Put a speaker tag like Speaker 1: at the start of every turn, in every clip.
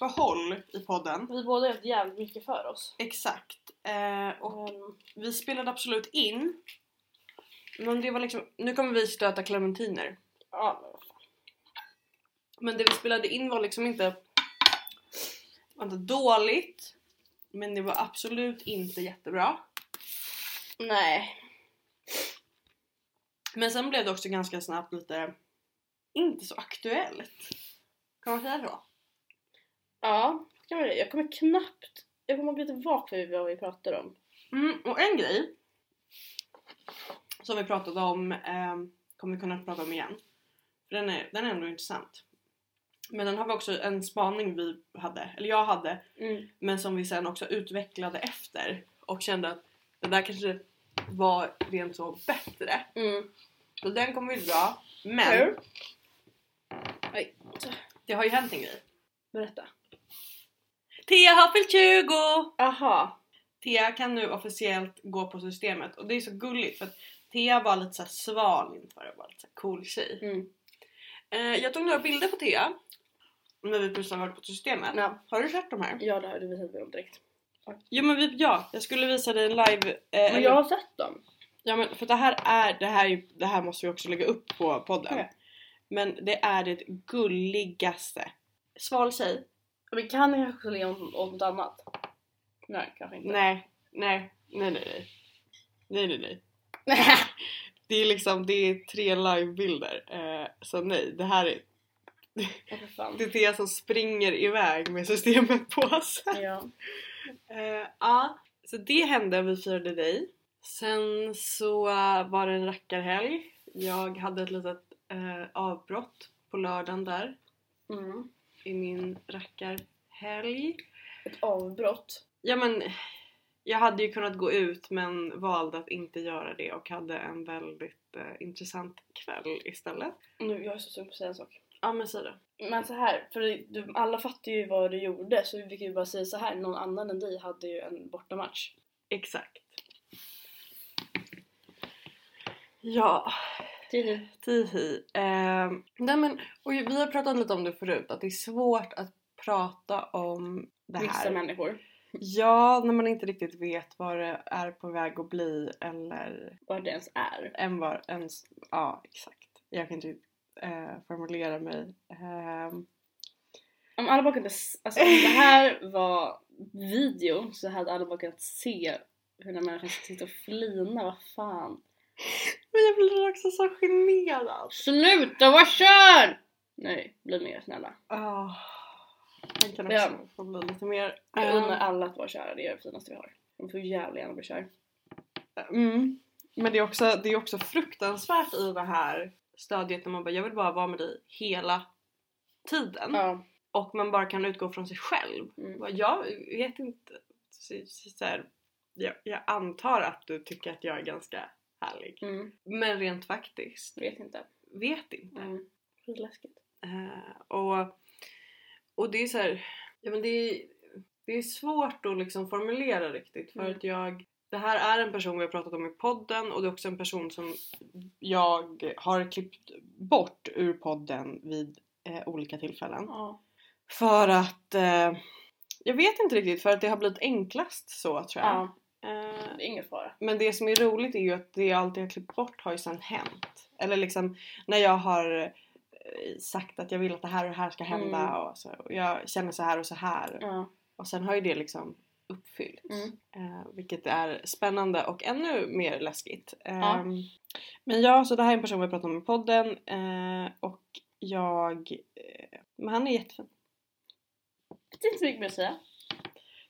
Speaker 1: eh, podden.
Speaker 2: Vi båda har haft jävligt mycket för oss.
Speaker 1: Exakt. Eh, och
Speaker 2: Ehm,
Speaker 1: vi spelade absolut in. Men det var liksom, nu kommer vi stöta clementiner.
Speaker 2: ja, men vad fan.
Speaker 1: Men det vi spelade in var liksom inte, var inte dåligt. Men det var absolut inte jättebra.
Speaker 2: Nej.
Speaker 1: Men sen blev det också ganska snabbt lite inte så aktuellt. Kan man säga så?
Speaker 2: Ja, kan man, jag kommer knappt... Jag kommer bli tillbaka vid vad vi pratar om.
Speaker 1: Mm, och en grej som vi pratade om eh, kommer vi kunna prata om igen. För den är, den är ändå intressant. Men den har vi också en spaning vi hade, eller jag hade,
Speaker 2: Mm.
Speaker 1: men som vi sen också utvecklade efter och kände att det där kanske var rent så bättre.
Speaker 2: Mm.
Speaker 1: Så den kommer vi dra. Men
Speaker 2: Men.
Speaker 1: det har ju hänt en grej.
Speaker 2: Berätta.
Speaker 1: Thea har fyllt 20!
Speaker 2: Aha.
Speaker 1: Thea kan nu officiellt gå på systemet och det är så gulligt för att Thea var lite så här sval inför det, var lite så här cool tjej.
Speaker 2: Mm.
Speaker 1: Eh, jag tog några bilder på Thea när vi precis har varit på systemet.
Speaker 2: Ja.
Speaker 1: Har du sett de här?
Speaker 2: Ja, det har du visat mig om direkt.
Speaker 1: Jo men vi, ja, jag skulle visa dig en live... Eh, eller-
Speaker 2: Men jag har sett dem.
Speaker 1: Ja men för det här är, det här, är- det här måste vi också lägga upp på podden.
Speaker 2: Okej.
Speaker 1: Men det är det gulligaste. Sval tjej?
Speaker 2: Men kan jag också le om, om något annat? Nej, kanske inte.
Speaker 1: Nej, nej, nej nej nej. Nej nej nej. Det är liksom, det är tre livebilder. Eh, så nej, det här är
Speaker 2: Ja, för fan.
Speaker 1: Det är Thea som springer iväg med systemet på sig.
Speaker 2: Ja.
Speaker 1: Eh, Ja, så det hände vi firade dig. Sen så eh, var det en rackarhelg. Jag hade ett litet eh, avbrott på lördagen där
Speaker 2: Mm.
Speaker 1: i min rackarhelg.
Speaker 2: Ett avbrott.
Speaker 1: Ja men, jag hade ju kunnat gå ut men valde att inte göra det och hade en väldigt eh, intressant kväll istället.
Speaker 2: Nu, jag är så sugen på att säga en sak.
Speaker 1: Ja men säg det.
Speaker 2: Men så här, för du, alla fattar ju vad du gjorde så vi kan ju bara säga så här. någon annan än dig hade ju en bortamatch.
Speaker 1: Exakt. Ja,
Speaker 2: Tihi.
Speaker 1: Tihi. Eh, nej men, och vi har pratat lite om det förut, att det är svårt att prata om det
Speaker 2: Vissa
Speaker 1: här.
Speaker 2: människor.
Speaker 1: Ja, när man inte riktigt vet vad det är på väg att bli eller
Speaker 2: Vad det ens är.
Speaker 1: än vad ens... Ja, exakt. Jag kan inte eh, formulera mig. Ehm,
Speaker 2: Om alla bara kunde, s- alltså om det här var video så hade alla bara kunnat se hur den här människan sitter och flinar, vad fan.
Speaker 1: men jag blir också så generad.
Speaker 2: Sluta vara kön! Nej, bli mer snälla.
Speaker 1: Oh. Jag kan också
Speaker 2: Ja.
Speaker 1: få bli lite mer...
Speaker 2: Jag unnar
Speaker 1: ehm,
Speaker 2: alla att vara kära, det är det finaste vi har. De får jävligt gärna bli kär.
Speaker 1: Mm. Men det är, också, det är också fruktansvärt i det här stadiet när man bara jag vill bara vara med dig hela tiden.
Speaker 2: Ja.
Speaker 1: Och man bara kan utgå från sig själv.
Speaker 2: Mm.
Speaker 1: Bara, Jag vet inte. Så, så, så här, jag, jag antar att du tycker att jag är ganska härlig.
Speaker 2: Mm.
Speaker 1: Men rent faktiskt,
Speaker 2: Vet inte.
Speaker 1: vet inte.
Speaker 2: Mm. Skitläskigt.
Speaker 1: Eh, och, och det är så här, ja, men det, är, det är svårt att liksom formulera riktigt för
Speaker 2: Mm.
Speaker 1: att jag det här är en person vi har pratat om i podden och det är också en person som jag har klippt bort ur podden vid eh, olika tillfällen.
Speaker 2: Ja.
Speaker 1: För att eh, jag vet inte riktigt för att det har blivit enklast så tror jag.
Speaker 2: ja.
Speaker 1: Eh,
Speaker 2: Det är ingen fara.
Speaker 1: men det som är roligt är ju att det allt jag har klippt bort har ju sen hänt. Eller liksom när jag har eh, sagt att jag vill att det här och det här ska hända
Speaker 2: Mm.
Speaker 1: och, så, och jag känner så här och så här.
Speaker 2: Ja.
Speaker 1: Och sen har ju det liksom uppfyllts.
Speaker 2: Mm.
Speaker 1: Eh, vilket är spännande och ännu mer läskigt.
Speaker 2: Ja.
Speaker 1: Ehm, Men ja, så det här är en person vi pratat om i podden eh, och jag... eh, Men han är jättefin.
Speaker 2: Det är inte så mycket mer att säga.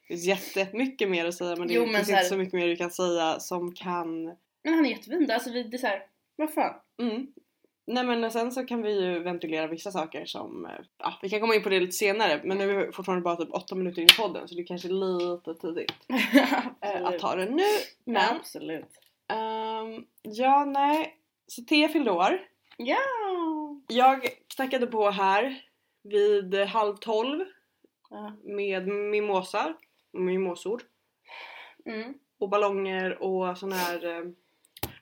Speaker 1: Det finns jättemycket mer att säga men det
Speaker 2: Jo,
Speaker 1: jo,
Speaker 2: men
Speaker 1: finns
Speaker 2: så här-
Speaker 1: inte så mycket mer du kan säga som kan
Speaker 2: Men han är jättefin, alltså vi, det är såhär, vad fan.
Speaker 1: Mm. Nej men och sen så kan vi ju ventilera vissa saker som, eh, ja vi kan komma in på det lite senare men nu är vi fortfarande bara typ 8 minuter in i podden så det är kanske lite tidigt eh, att ta det nu. Men
Speaker 2: Absolut.
Speaker 1: ehm, ja nej, så Thea fyllde år.
Speaker 2: Ja!
Speaker 1: Jag knackade på här vid eh, halv tolv
Speaker 2: Ja.
Speaker 1: med mimosar, mimosor
Speaker 2: Mm.
Speaker 1: och ballonger och sån här, eh,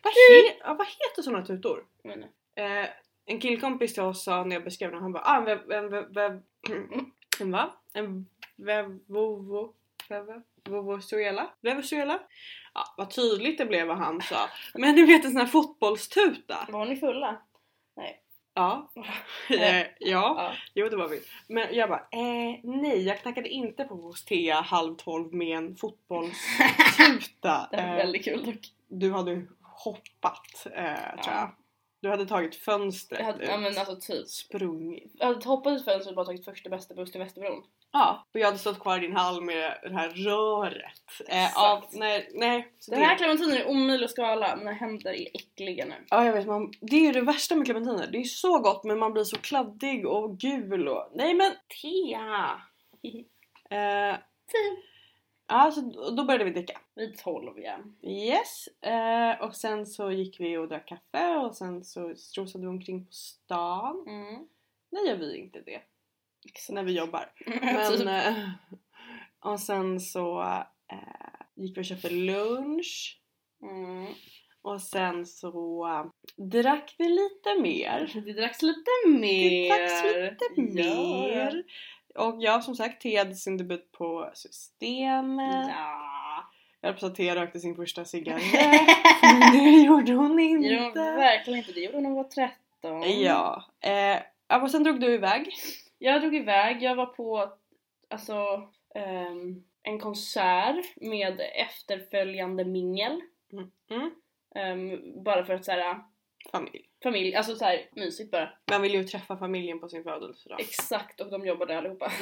Speaker 1: vad, he- ja, vad heter såna tutor?
Speaker 2: Men,
Speaker 1: Eh, en killkompis till oss sa när jag beskrev den, han bara ah, en, vä- en, vä- vä- en, va? en Vevovo... Venezuela. Venezuela. Ja, vad tydligt det blev vad han sa. Men ni vet en sån här fotbollstuta.
Speaker 2: Var ni fulla?
Speaker 1: Ja. Eh,
Speaker 2: Nej.
Speaker 1: ja.
Speaker 2: Ja.
Speaker 1: Jo det var vi. Men jag bara eh, nej jag knackade inte på hos Thea halv tolv med en fotbollstuta.
Speaker 2: Det var
Speaker 1: Eh,
Speaker 2: väldigt kul dock.
Speaker 1: du hade ju hoppat eh, tror jag.
Speaker 2: Ja.
Speaker 1: Du hade tagit fönstret
Speaker 2: Jag hade,
Speaker 1: ut.
Speaker 2: ja, men alltså typ.
Speaker 1: Sprungit.
Speaker 2: Jag hade hoppat ut fönstret och bara tagit första bästa buss till Västerbron.
Speaker 1: Ja. Och jag hade stått kvar i din hall med det här röret.
Speaker 2: Exakt.
Speaker 1: Eh, av, nej, nej. så
Speaker 2: Den
Speaker 1: det-
Speaker 2: här clementinen är omöjlig att skala, mina händer är äckliga nu.
Speaker 1: Ja jag vet, man, det är ju det värsta med clementiner. Det är ju så gott men man blir så kladdig och gul och... Nej men Thea! Eh, ja, så då- då började vi dricka.
Speaker 2: Vid 12 ja.
Speaker 1: Yes! Eh, och sen så gick vi och drack kaffe och sen så strosade vi omkring på stan.
Speaker 2: Mm.
Speaker 1: Nej gör vi inte det.
Speaker 2: Exakt.
Speaker 1: När vi jobbar.
Speaker 2: Typ.
Speaker 1: Men, eh, och sen så eh, gick vi och köpte lunch.
Speaker 2: Mm.
Speaker 1: Och sen så eh, drack vi lite mer.
Speaker 2: Det dracks lite mer.
Speaker 1: dracks lite
Speaker 2: Ja.
Speaker 1: mer. Och jag som sagt, Thea hade sin debut på Systemet.
Speaker 2: Ja.
Speaker 1: Jag höll på att Thea rökte sin första cigarett. men det gjorde hon
Speaker 2: Jo,
Speaker 1: inte.
Speaker 2: verkligen inte. Det gjorde hon när hon var 13.
Speaker 1: Ja. Eh, ja, och sen drog du iväg.
Speaker 2: Jag drog iväg, jag var på alltså, ehm, en konsert med efterföljande mingel.
Speaker 1: Mm. Mm.
Speaker 2: Ehm, bara för att såhär,
Speaker 1: Familj.
Speaker 2: familj, alltså såhär mysigt bara.
Speaker 1: Man vill ju träffa familjen på sin födelsedag.
Speaker 2: Exakt, och de jobbade allihopa.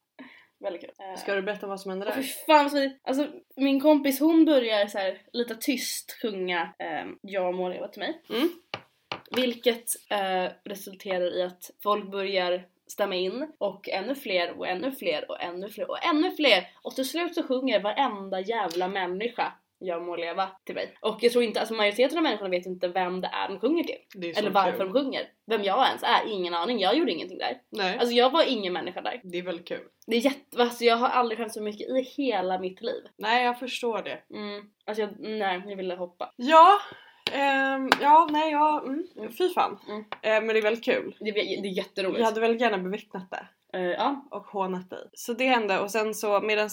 Speaker 2: Väldigt kul. Eh,
Speaker 1: Ska du berätta vad som hände
Speaker 2: och fy
Speaker 1: där?
Speaker 2: fan så, alltså, min kompis hon börjar så här, lite tyst sjunga ehm, Jag må leva till mig.
Speaker 1: Mm.
Speaker 2: Vilket eh, resulterar i att folk börjar stämma in och ännu fler och ännu fler och ännu fler och ännu fler och till slut så sjunger varenda jävla människa Jag må leva till mig. Och jag tror inte, alltså majoriteten av människorna vet inte vem det är de sjunger till.
Speaker 1: Det är så
Speaker 2: Eller varför
Speaker 1: kul.
Speaker 2: de sjunger. Vem jag ens är, ingen aning. Jag gjorde ingenting där.
Speaker 1: Nej,
Speaker 2: Alltså jag var ingen människa där.
Speaker 1: det är väldigt kul.
Speaker 2: Det är jätte, alltså jag har aldrig skämt så mycket i hela mitt liv.
Speaker 1: Nej, jag förstår det.
Speaker 2: Mm. Alltså jag, nej, jag ville hoppa.
Speaker 1: Ja, ehm, ja, nej, ja, mm, fy fan.
Speaker 2: Mm.
Speaker 1: Eh, men det är väldigt kul.
Speaker 2: Det, det är jätteroligt.
Speaker 1: Jag hade väldigt gärna bevittnat det.
Speaker 2: Eh, ja.
Speaker 1: och hånat dig. Så det hände och sen så medan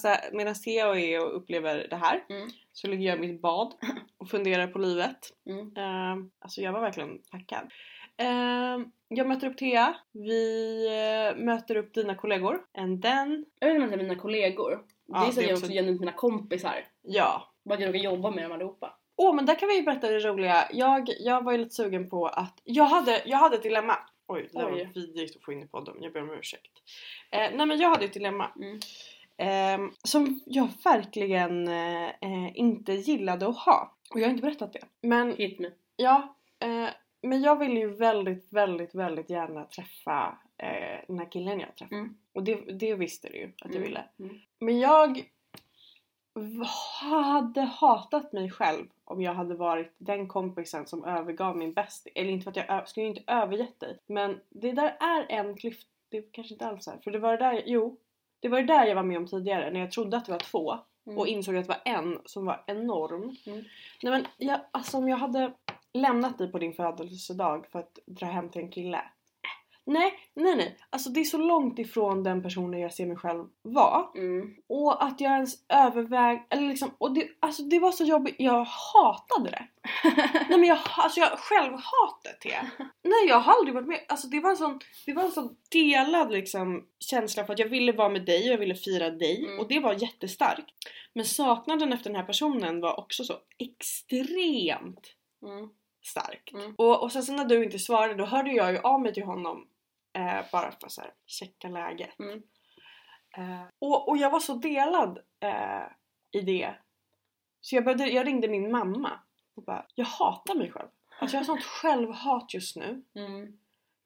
Speaker 1: jag är och upplever det här
Speaker 2: Mm.
Speaker 1: så ligger jag i mitt bad och funderar på livet.
Speaker 2: Mm.
Speaker 1: Ehm, alltså jag var verkligen packad. Ehm, jag möter upp Thea, vi eh, möter upp dina kollegor. And then,
Speaker 2: Jag vet inte om det är mina kollegor.
Speaker 1: Ja,
Speaker 2: det är så
Speaker 1: det är
Speaker 2: jag
Speaker 1: också-
Speaker 2: också genuint mina kompisar.
Speaker 1: ja.
Speaker 2: Bara att jag råkar jobba med dem allihopa.
Speaker 1: Åh men där kan vi ju berätta det roliga. Jag, jag var ju lite sugen på att, jag hade, jag hade ett dilemma. Oj, det där var
Speaker 2: Oj.
Speaker 1: vidrigt att få in i podden. Jag ber om ursäkt. Eh, nej men jag hade ett dilemma.
Speaker 2: Mm.
Speaker 1: Ehm, som jag verkligen eh, eh, inte gillade att ha. Och jag har inte berättat det. Men
Speaker 2: Hit me.
Speaker 1: ja, eh, men jag ville ju väldigt, väldigt, väldigt gärna träffa eh, den här killen jag träffade.
Speaker 2: Mm.
Speaker 1: Och det, det visste du ju att jag
Speaker 2: Mm.
Speaker 1: ville.
Speaker 2: Mm.
Speaker 1: Men jag v- hade hatat mig själv om jag hade varit den kompisen som övergav min bästis. Eller inte för att jag ö- skulle ju inte övergett dig. Men det där är en klyfta. Det kanske inte alls är. För det var det där, jo. Det var det där jag var med om tidigare när jag trodde att det var två
Speaker 2: Mm.
Speaker 1: och insåg att det var en som var enorm.
Speaker 2: Mm.
Speaker 1: Nej men jag, alltså om jag hade lämnat dig på din födelsedag för att dra hem till en kille. Nej, nej, nej. Alltså det är så långt ifrån den personen jag ser mig själv vara.
Speaker 2: Mm.
Speaker 1: Och att jag ens överväg... Eller liksom, och det, alltså det var så jobbigt, jag hatade det. Nej men jag, alltså jag självhatet det. Nej jag har aldrig varit med, alltså det var en sån, det var en sån delad liksom känsla för att jag ville vara med dig och jag ville fira dig
Speaker 2: Mm.
Speaker 1: och det var jättestarkt. Men saknaden efter den här personen var också så extremt
Speaker 2: Mm.
Speaker 1: starkt.
Speaker 2: Mm.
Speaker 1: Och, och sen så när du inte svarade då hörde jag ju av mig till honom eh, bara för att så här, checka läget.
Speaker 2: Mm.
Speaker 1: Eh, och, och jag var så delad eh, i det. Så jag, började, jag ringde min mamma och bara, jag hatar mig själv. Alltså jag har sånt självhat just nu.
Speaker 2: Mm.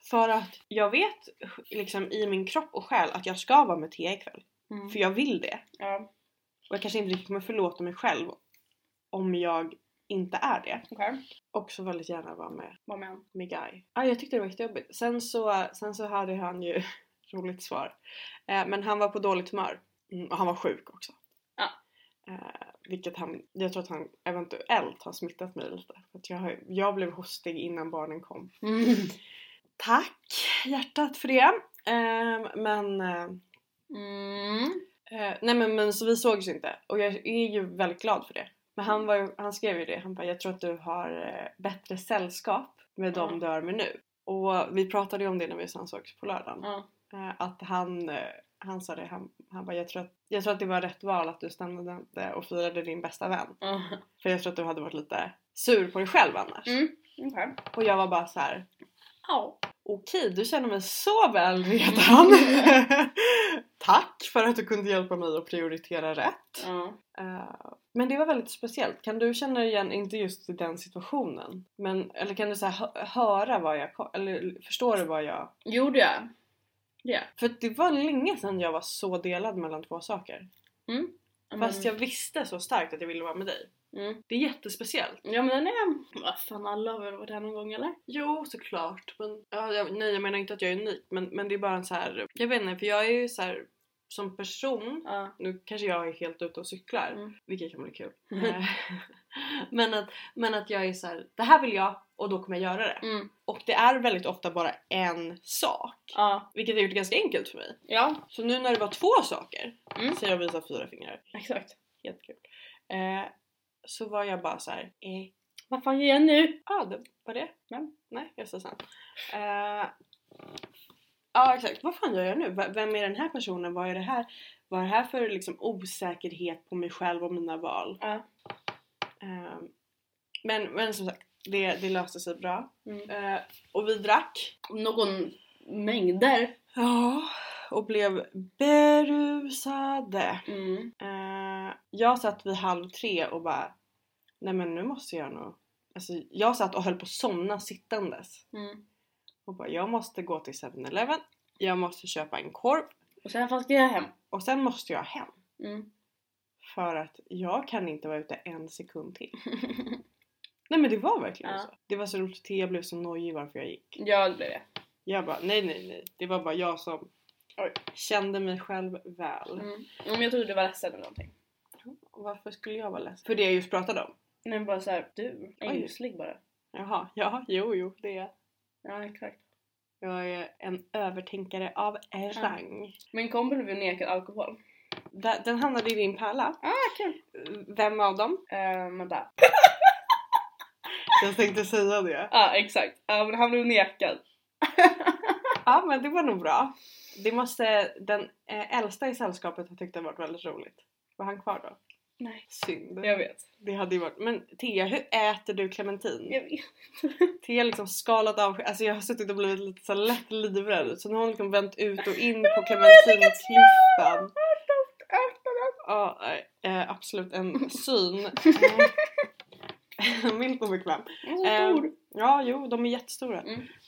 Speaker 1: För att jag vet liksom i min kropp och själ att jag ska vara med Thea ikväll.
Speaker 2: Mm.
Speaker 1: För jag vill det.
Speaker 2: Ja,
Speaker 1: Och jag kanske inte riktigt kommer förlåta mig själv om jag inte är det.
Speaker 2: okej.
Speaker 1: Också väldigt gärna vara med
Speaker 2: Var med han.
Speaker 1: med Guy. Ah, jag tyckte det var jättejobbigt. Sen så, sen så hade han ju roligt svar. Eh, men han var på dåligt humör. Mm, och han var sjuk också.
Speaker 2: Ja.
Speaker 1: Eh, vilket han, jag tror att han eventuellt har smittat mig lite. För att jag, har- jag blev hostig innan barnen kom.
Speaker 2: Mm.
Speaker 1: Ehm, Tack hjärtat för det. Eh, men eh,
Speaker 2: Mm.
Speaker 1: Eh, nej men, men så vi sågs inte och jag är ju väldigt glad för det. Men
Speaker 2: Mm.
Speaker 1: han, var, ju- han skrev ju det, han bara jag tror att du har eh, bättre sällskap med dem
Speaker 2: Mm.
Speaker 1: du är med nu. Och vi pratade ju om det när vi sen sågs på lördagen.
Speaker 2: Ja.
Speaker 1: Eh, att han, eh, han sa det, han, han bara jag tror, att, jag tror att det var rätt val att du stannade inte och firade din bästa vän.
Speaker 2: Ja.
Speaker 1: För jag tror att du hade varit lite sur på dig själv annars.
Speaker 2: Mm. Okej.
Speaker 1: Och jag var bara så här.
Speaker 2: Ja.
Speaker 1: Okej, du känner mig så väl redan.
Speaker 2: Mm.
Speaker 1: Tack för att du kunde hjälpa mig att prioritera rätt.
Speaker 2: Ja.
Speaker 1: Eh, men det var väldigt speciellt. Kan du känna dig igen, inte just i den situationen, men eller kan du så här, hö- höra vad jag, ko- eller förstår du vad jag...
Speaker 2: Gjorde jag? Ja.
Speaker 1: För att det var länge sedan jag var så delad mellan två saker. Fast jag visste så starkt att jag ville vara med dig.
Speaker 2: Mm.
Speaker 1: Det är jättespeciellt.
Speaker 2: Ja men den är... Vad fan alla har väl varit här någon gång eller?
Speaker 1: Jo, såklart. Men, ja, jag, nej, jag menar inte att jag är unik, men, men det är bara en så här... Jag vet inte, för jag är ju så här... Som person
Speaker 2: Ja.
Speaker 1: nu kanske jag är helt ute och cyklar,
Speaker 2: Mm.
Speaker 1: vilket kan bli kul.
Speaker 2: Mm.
Speaker 1: Eh, men, att, men att jag är så här, det här vill jag och då kommer jag göra det.
Speaker 2: Mm.
Speaker 1: Och det är väldigt ofta bara en sak,
Speaker 2: Ja.
Speaker 1: vilket har gjort det ganska enkelt för mig.
Speaker 2: Ja.
Speaker 1: Så nu när det var två saker,
Speaker 2: Mm.
Speaker 1: så jag visar fyra fingrar,
Speaker 2: Exakt.
Speaker 1: helt kul. Eh, så var jag bara så här, eh,
Speaker 2: Vad fan gör jag nu?
Speaker 1: Ja, ah, det var det.
Speaker 2: Nej.
Speaker 1: Nej, jag sa sen. Eh, Ja, ah, exakt. Vad fan gör jag nu? V- Vem är den här personen? Vad är det här? Vad är det här för liksom, osäkerhet på mig själv och mina val?
Speaker 2: Ja.
Speaker 1: Eh, men, men som sagt, det, det löste sig bra.
Speaker 2: Mm.
Speaker 1: Eh, och vi drack.
Speaker 2: Någon mängder.
Speaker 1: Ja, och blev berusade.
Speaker 2: Mm.
Speaker 1: Eh, jag satt vid halv tre och bara, nej men nu måste jag nog. Alltså, jag satt och höll på att somna sittandes.
Speaker 2: Mm.
Speaker 1: och bara jag måste gå till 7-Eleven, jag måste köpa en korv
Speaker 2: Och sen fan ska jag hem.
Speaker 1: och sen måste jag hem.
Speaker 2: Mm.
Speaker 1: För att jag kan inte vara ute en sekund till. Nej men det var verkligen
Speaker 2: Ja.
Speaker 1: så. Det var så roligt, jag blev så nojig varför jag gick.
Speaker 2: ja det blev det.
Speaker 1: Jag bara nej nej nej, det var bara jag som
Speaker 2: Oj.
Speaker 1: kände mig själv väl.
Speaker 2: Mm. Ja, Men jag trodde du var ledsen eller någonting.
Speaker 1: Och Varför skulle jag vara ledsen? För det jag just pratade om.
Speaker 2: Nej men bara såhär, du är
Speaker 1: Oj.
Speaker 2: ängslig bara.
Speaker 1: Jaha, ja, jo, jo, det är jag.
Speaker 2: Ja exakt.
Speaker 1: Jag är en övertänkare av rang.
Speaker 2: Min kompis blev nekad alkohol.
Speaker 1: Da- Den hamnade i din pärla.
Speaker 2: Ah kul!
Speaker 1: Vem av dem?
Speaker 2: Uh, vänta.
Speaker 1: Jag tänkte säga det.
Speaker 2: Ja exakt. Ja men han blev nekad.
Speaker 1: Ja men det var nog bra. Det måste den eh, äldsta i sällskapet ha tyckt det varit väldigt roligt. Var han kvar då?
Speaker 2: Nej.
Speaker 1: Synd.
Speaker 2: Jag vet.
Speaker 1: Det hade ju varit... Men Thea, hur äter du clementin?
Speaker 2: Jag vet.
Speaker 1: Thea har liksom skalat av... Alltså jag har suttit och blivit lite så här lätt livrädd. ut. Så nu har hon liksom vänt ut och in på clementinklyftan.
Speaker 2: Ah,
Speaker 1: Ja, nej, eh, absolut en syn. Eh, Milt och bekväm.
Speaker 2: Han är
Speaker 1: Eh,
Speaker 2: så stor.
Speaker 1: ja, jo, de är jättestora.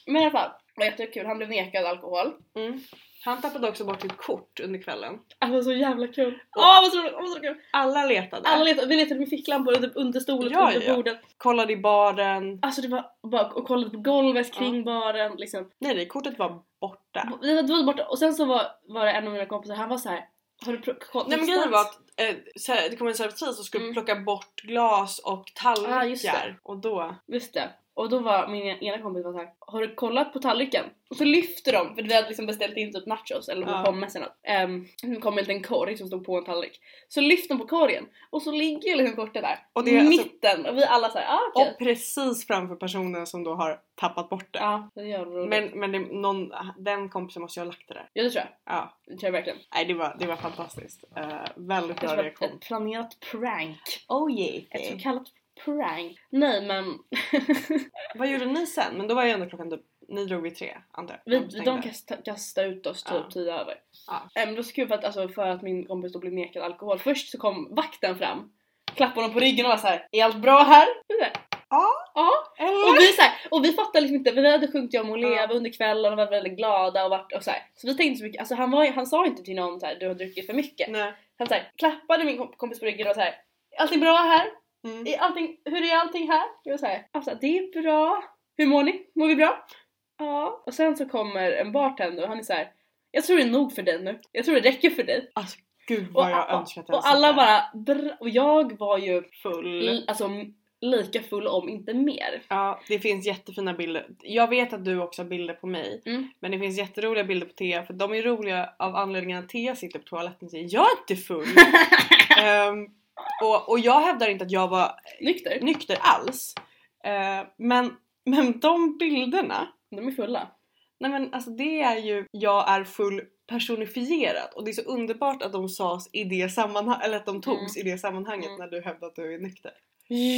Speaker 2: Men i alla fall, det var jättekul. Han blev nekad alkohol.
Speaker 1: Mm. Han tappade också bort sitt kort under kvällen.
Speaker 2: Alltså så jävla kul. Åh vad så roligt, åh vad så kul.
Speaker 1: Alla letade.
Speaker 2: Alla letade, vi letade med ficklampor under, typ under stolen,
Speaker 1: Ja,
Speaker 2: under
Speaker 1: ja.
Speaker 2: bordet.
Speaker 1: kollade i baren.
Speaker 2: Alltså det var bara och kollade på golvet kring baren liksom.
Speaker 1: Nej, nej kortet var borta.
Speaker 2: Vi var- vi var borta och sen så var, var det en av mina kompisar, han var så här. Har du pro- koll-
Speaker 1: Nej men grejen
Speaker 2: någonstans?"
Speaker 1: var att eh, så här, det kom en servitris som skulle
Speaker 2: Mm.
Speaker 1: plocka bort glas och
Speaker 2: Ah, just
Speaker 1: tallrikar.
Speaker 2: det.
Speaker 1: och då...
Speaker 2: Just det. Och då var min ena kompis var såhär, har du kollat på tallriken? Och så lyfter de, för vi hade liksom beställt in typ nachos eller
Speaker 1: Ja.
Speaker 2: pommes eller något. Ehm, nu kom en liten korg som stod på en tallrik. Så lyfter de på korgen och så ligger liksom kortet där.
Speaker 1: Och
Speaker 2: Och
Speaker 1: det är alltså-
Speaker 2: mitten och vi alla såhär, ah, okej.
Speaker 1: Och precis framför personen som då har tappat bort det.
Speaker 2: Ja, det gör de roligt.
Speaker 1: Men, men det, någon, den kompisen måste ju ha lagt det där.
Speaker 2: Ja det tror jag.
Speaker 1: Ja.
Speaker 2: Det tror jag verkligen.
Speaker 1: Nej det var, det var fantastiskt. Eh, väldigt
Speaker 2: Det
Speaker 1: bra
Speaker 2: var ett,
Speaker 1: reaktion.
Speaker 2: ett planerat prank.
Speaker 1: Oh yeah.
Speaker 2: Ett så kallat prank. Nej men,
Speaker 1: Vad gjorde ni sen? Men då var ju ändå klockan typ, ni drog vid tre antar jag.
Speaker 2: vi,
Speaker 1: stängde.
Speaker 2: de kastade, kastade ut oss typ
Speaker 1: Ja.
Speaker 2: tio över.
Speaker 1: Ja.
Speaker 2: Äh, men det var så kul för att, alltså, för att min kompis då blev nekad alkohol. Först så kom vakten fram, klappade honom på ryggen och var såhär Är allt bra här? Vi såhär,
Speaker 1: Ja.
Speaker 2: ja.
Speaker 1: Eller?
Speaker 2: Och vi, så här, och vi fattade liksom inte, vi hade sjungit Jag må
Speaker 1: Ja.
Speaker 2: leva under kvällen och varit väldigt glada och, varit, och så, här. så vi tänkte inte så mycket, alltså han, var, ju- han sa inte till någon så här, du har druckit för mycket.
Speaker 1: Nej.
Speaker 2: Han så här, klappade min kom- kompis på ryggen och var så här, "Är allting bra här?
Speaker 1: Mm.
Speaker 2: Är allting, hur är allting här? Jag var så här, alltså det är bra. Hur mår ni? Mår vi bra? Ja. Och sen så kommer en bartender och han är så här. Jag tror det är nog för dig nu. Jag tror det räcker för dig.
Speaker 1: Alltså gud vad jag önskar att jag
Speaker 2: Och
Speaker 1: satt Mm.
Speaker 2: alla
Speaker 1: där.
Speaker 2: bara bra. Och jag var ju
Speaker 1: full.
Speaker 2: l- alltså lika full om inte mer.
Speaker 1: Ja, det finns jättefina bilder. Jag vet att du också har bilder på mig.
Speaker 2: Mm.
Speaker 1: Men det finns jätteroliga bilder på Thea för de är roliga av anledningen att Thea sitter på toaletten och säger Jag är inte full! Ehm, och, och jag hävdar inte att jag var
Speaker 2: Nykter.
Speaker 1: nykter alls. Ehm, men, men de bilderna,
Speaker 2: De är fulla.
Speaker 1: nej men alltså det är ju jag är full personifierat och det är så underbart att de sades i det sammanhanget, eller att de togs i det sammanhanget
Speaker 2: Mm.
Speaker 1: när du hävdade att du är nykter.